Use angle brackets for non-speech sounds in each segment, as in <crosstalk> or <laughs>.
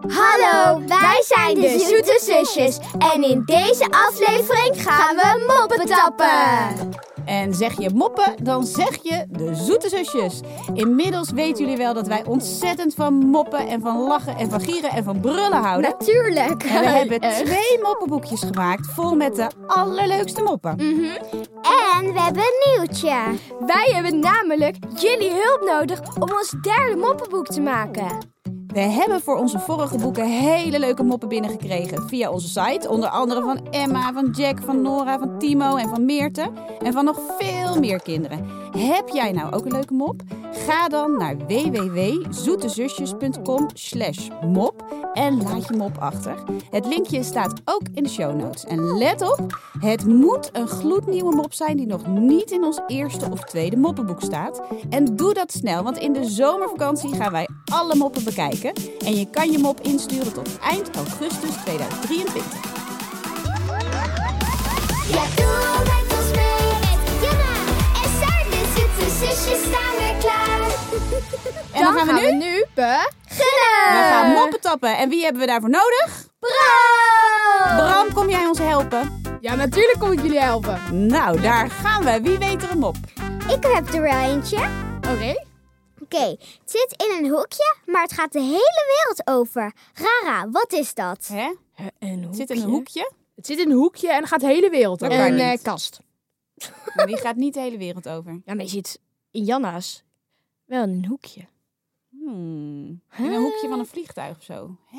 Hallo, wij zijn de Zoete Zusjes en in deze aflevering gaan we moppen tappen. En zeg je moppen, dan zeg je de zoete zusjes. Inmiddels weten jullie wel dat wij ontzettend van moppen en van lachen en van gieren en van brullen houden. Natuurlijk. En we <laughs> hebben twee moppenboekjes gemaakt vol met de allerleukste moppen. En we hebben een nieuwtje. Wij hebben namelijk jullie hulp nodig om ons derde moppenboek te maken. We hebben voor onze vorige boeken hele leuke moppen binnengekregen via onze site. Onder andere van Emma, van Jack, van Nora, van Timo en van Meerte. En van nog veel meer kinderen. Heb jij nou ook een leuke mop? Ga dan naar www.zoetezusjes.com slash mop en laat je mop achter. Het linkje staat ook in de show notes. En let op, het moet een gloednieuwe mop zijn die nog niet in ons eerste of tweede moppenboek staat. En doe dat snel, want in de zomervakantie gaan wij alle moppen bekijken. En je kan je mop insturen tot eind augustus 2023. Ja, doe met ons mee met Jana en Saar, de zoete zusjes staan weer <laughs> klaar. En dan, gaan we nu, eh, we gaan moppen tappen. En wie hebben we daarvoor nodig? Bram! Bram, kom jij ons helpen? Ja, natuurlijk kom ik jullie helpen. Nou, daar gaan we. Wie weet er een mop? Ik heb er wel eentje. Oké. Oké, het zit in een hoekje, maar het gaat de hele wereld over. Rara, wat is dat? Hè? Een Zit in een hoekje. Het zit in een hoekje en gaat de hele wereld Dat over. kan niet. kast. Maar die gaat niet de hele wereld over. Ja, maar je zit in Janna's wel in een hoekje. Hmm. In een hoekje van een vliegtuig of zo. Hè?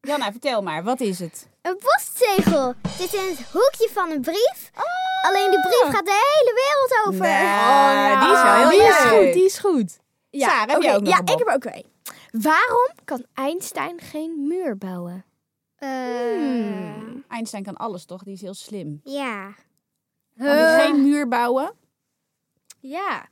Janna, vertel maar, wat is het? Een postzegel. Het zit in het hoekje van een brief. Oh. Alleen de brief gaat de hele wereld over. Oh, Ah, Nou, die is wel heel die is leuk. goed, die is goed. Ja, Saar, heb jij ook nog nou. ja, een ik mop? heb er Oh, ook twee. Waarom kan Einstein geen muur bouwen? Eh, Einstein kan alles toch? Die is heel slim. Ja. Kan hij geen muur bouwen? Ja,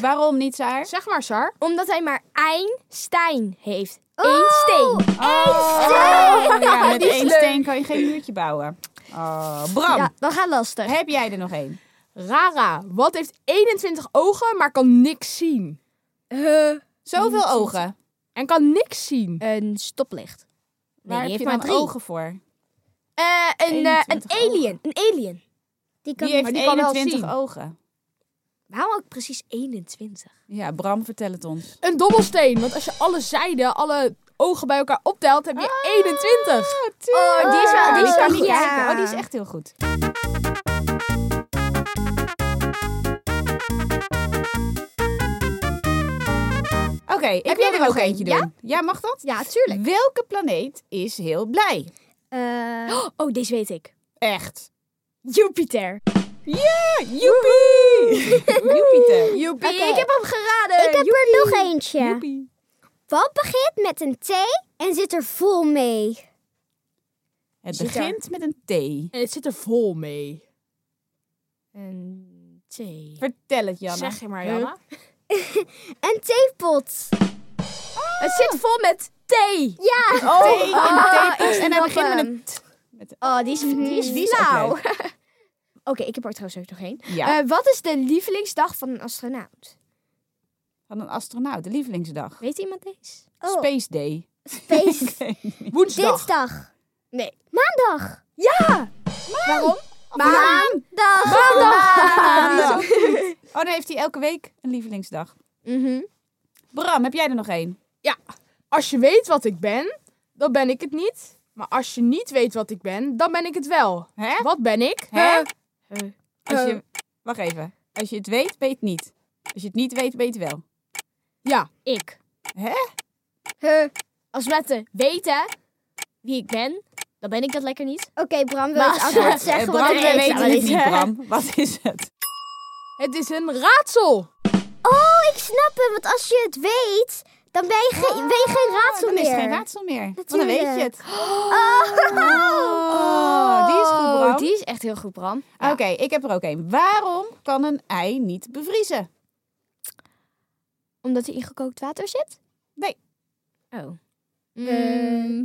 Waarom niet, Saar? Zeg maar, Sar. omdat hij maar Einstein heeft. Oh, Eén steen. Oh, ja, met Die is één leuk. steen kan je geen muurtje bouwen. Oh, Bram, Ja, dat gaat lastig. heb jij er nog één? Rara, wat heeft 21 ogen, maar kan niks zien? Zoveel ogen. En kan niks zien. Een stoplicht. Waar die heb heeft je maar dan drie. ogen voor? Eh, een, eh, een 21 alien. Een alien. Die kan Die heeft die kan wel 21 zien. ogen. Waarom ook precies 21? Ja, Bram, vertel het ons. Een dobbelsteen, want als je alle zijden, alle ogen bij elkaar optelt, heb je Ah. 21. Oh, die is wel- die is wel goed. kijken. Oh, die is echt heel goed. Oké, ik heb wil er ook eentje doen. Ja? mag dat? Ja, tuurlijk. Welke planeet is heel blij? Eh, Oh, deze weet ik. Echt. Jupiter. Ja, joepie! Jupiter. Joepie. Ik heb hem geraden. Ik heb er nog eentje. Joepie. Wat begint met een T en zit er vol mee? Het Zit begint met een T. En het zit er vol mee. Een T. Vertel het, Janne. Zeg je maar, Janna. Een theepot. Het zit vol met thee. Ja. Oh, T en Ah, T. En hij snap begint met hem. een T. Oh, die is, die is Die is ook flauw. leuk. Oké, ik heb er trouwens ook nog één. Nou. <laughs> Ja, Eh, wat is de lievelingsdag van een astronaut? van een astronaut, de lievelingsdag. Weet iemand deze? Oh. Space Day. <laughs> Feest. Woensdag. Dinsdag. Nee. Maandag. Waarom? Maandag. <laughs> Ah. Oh, dan heeft hij elke week een lievelingsdag. Mhm. Bram, heb jij er nog één? Als je weet wat ik ben, dan ben ik het niet. Maar als je niet weet wat ik ben, dan ben ik het wel. Hè? Wat ben ik? Hè? Huh? Als je... Eh. Wacht even. Als je het weet, weet het niet. Als je het niet weet, weet <laughs> het wel. Ja. Ik. Hè? Huh. Als we te weten wie ik ben, dan ben ik dat lekker niet. Oké, Bram wil Maar- het antwoord Eh, zeggen. Bram, want ik wij weet het weten het niet. niet, Bram. Wat is het? Het is een raadsel. Oh, ik snap het. Want als je het weet, dan ben je, ge- ben je geen raadsel Oh, Dan meer. is het geen raadsel meer. Want dan Natuurlijk. weet je het. Oh, die is goed, Bram. Oh, die is echt heel goed, Bram. Oké, ik heb er ook één. Waarom kan een ei niet bevriezen? Omdat hij in gekookt water zit? Nee. Oh. Mm.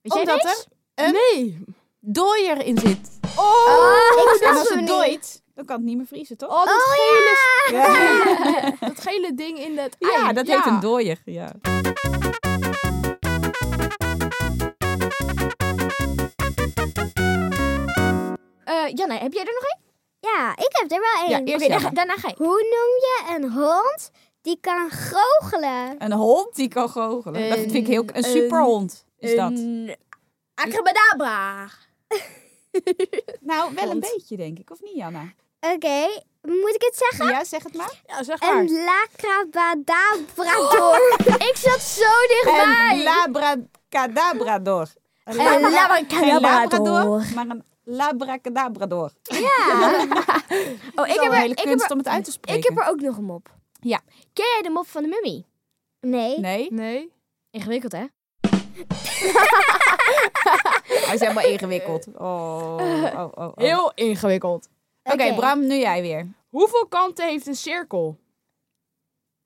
Weet jij Omdat deze? Een- Nee. Dooier in zit. Ah, Oh, ik en snap als hem het niet. dooit, dan kan het niet meer vriezen, toch? Oh, dat, gele, Ja, dat gele ding in dat Ah, Ja, ei. dat heet een dooier. Ja. Jana, heb jij er nog één? Ja, ik heb er wel Ja, één. eerst Oké, Jana. dan- daarna ga ik. Hoe noem je een hond die kan goochelen? Een hond die kan goochelen. dat vind ik heel... Een superhond is dat. Een Acrobadabra. nou, wel een beetje, denk ik. Of niet, Janna? Oké, moet ik het zeggen? Ja, zeg het maar. Ja, zeg maar. Een lacabadabrador. Ik zat zo dichtbij. Een labracadabrador. Een Een labra- geen labrador. maar een labracadabrador. Oh, ik Ik heb een heb, er, hele ik, kunst heb er, om het uit te spreken. ik heb er ook nog een mop. Ja. Ken jij de mop van de mummie? Nee. Nee, Nee. Ingewikkeld, hè? hij is helemaal ingewikkeld. Oh, oh, oh, oh. Oké, Heel ingewikkeld. Oké. Bram, nu jij weer. Hoeveel kanten heeft een cirkel?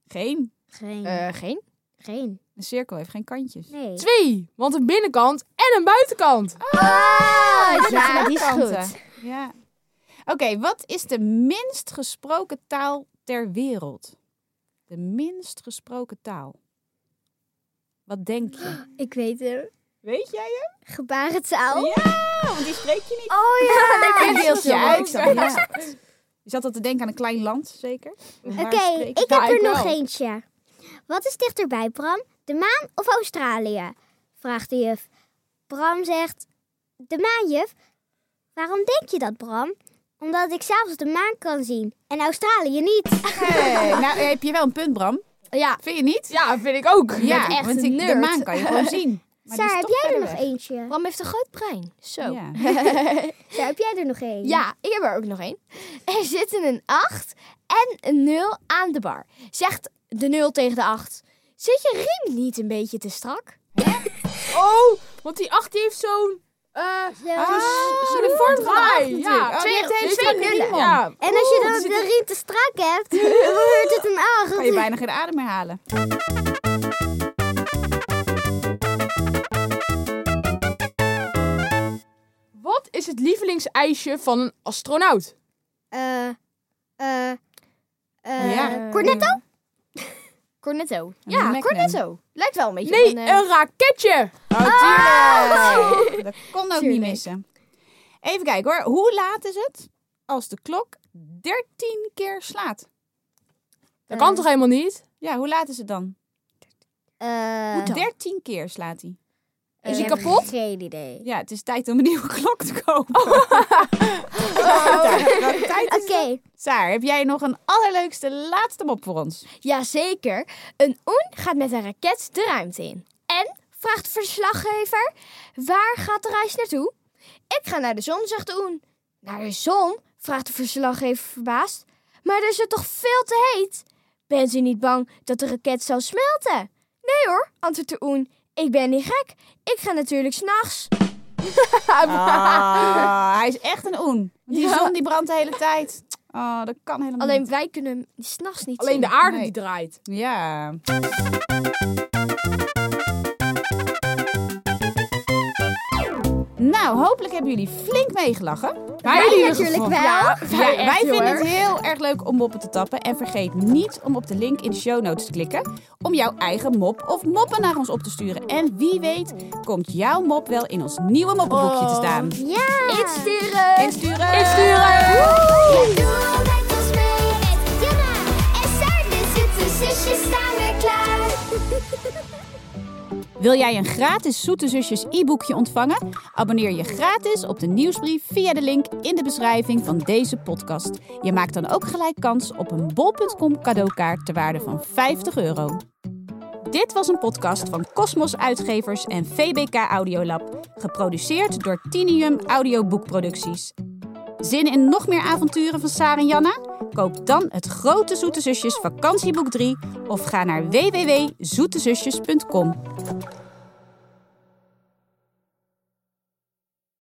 Geen. Geen. Eh, geen. Geen. Een cirkel heeft geen kantjes. Nee. Twee, want een binnenkant en een buitenkant. Oh, ja, die is Kanten. goed. Ja. Oké, wat is de minst gesproken taal ter wereld? De minst gesproken taal. Wat denk je? Ik <gasps> weet hem. Weet jij hem? Gebarentaal. Ja, want die spreek je niet. Oh <laughs> ja, dat ik heel snel. Ja, ik snap het. ja. Je zat al te denken aan een klein land, zeker? Oké, ik heb Ja, ik er nog wel. eentje. Wat is dichterbij, Bram? De maan of Australië? Vraagt de juf. Bram zegt, de maan, juf. Waarom denk je dat, Bram? Omdat ik s'avonds de maan kan zien en Australië niet. Hey, nou heb je wel een punt, Bram. Ja. Vind je niet? Ja, vind ik ook. bent echt want een ik- de nerd. maan kan je gewoon zien. Maar die is Saar, heb toch jij er verder nog weg. eentje? Bram heeft een groot brein. Zo. Ja. Ja. Saar, heb jij er nog een? ik heb er ook nog één. Er zitten een 8 en een 0 aan de bar. Zegt de 0 tegen de 8. Zit je riem niet een beetje te strak? Oh, want die acht die heeft zo'n... eh Zo. Ah, <laughs> zo'n de vorm van de draai. acht natuurlijk. Ja. Oh, die heeft Twee- een twee strakke nullen. riem om. Ja. En als je oh, Oeh, dan er zit de riem te strak hebt, dan wordt het een kan je acht. bijna geen adem meer halen. Wat is het lievelingsijsje van een astronaut? Eh, eh, eh, Ja. Cornetto? Cornetto. Een Ja, Magnum. Cornetto. Lijkt wel een beetje Nee, op een... eh, een raketje. Natuurlijk. Dat kon ook niet Tuurlijk. missen. Even kijken hoor. Hoe laat is het als de klok 13 keer slaat? Dat kan toch helemaal niet? Ja, hoe laat is het dan? Eh, Hoe 13 keer slaat hij. ik Is hij eh, heb kapot? Geen idee. Ja, het is tijd om een <laughs> nieuwe klok te kopen. <laughs> Welke tijd- welke tijd is Oké, het? Saar, heb jij nog een allerleukste laatste mop voor ons? Jazeker, een oen gaat met een raket de ruimte in. En, vraagt de verslaggever, waar gaat de reis naartoe? Ik ga naar de zon, zegt de oen. Naar de zon? vraagt de verslaggever verbaasd. Maar er is het toch veel te heet? Bent u niet bang dat de raket zal smelten? Nee hoor, antwoordt de oen. Ik ben niet gek. Ik ga natuurlijk s'nachts. Ah, hij is echt een oen. Want Die zon die brandt de hele tijd. Oh, dat kan helemaal Alleen niet. wij kunnen hem s'nachts niet Alleen de zien. aarde Nee. die draait. Ja. Nou, hopelijk hebben jullie flink meegelachen. Wij in ieder natuurlijk geval. wel. Ja, wij vinden het heel erg leuk om moppen te tappen. En vergeet niet om op de link in de show notes te klikken. Om jouw eigen mop of moppen naar ons op te sturen. En wie weet komt jouw mop wel in ons nieuwe moppenboekje te staan. ja. Insturen! Oh. Insturen! Doe met ons mee met Jana en Saar, de zoete zusjes staan weer klaar. Wil jij een gratis Zoete Zusjes e-boekje ontvangen? Abonneer je gratis op de nieuwsbrief via de link in de beschrijving van deze podcast. Je maakt dan ook gelijk kans op een bol.com cadeaukaart ter waarde van 50 euro. Dit was een podcast van Cosmos Uitgevers en VBK Audiolab, geproduceerd door Tinium Audioboekproducties. Zin in nog meer avonturen van Sarah en Janna? Koop dan het Grote Zoete Zusjes Vakantieboek 3 of ga naar www.zoetezusjes.com.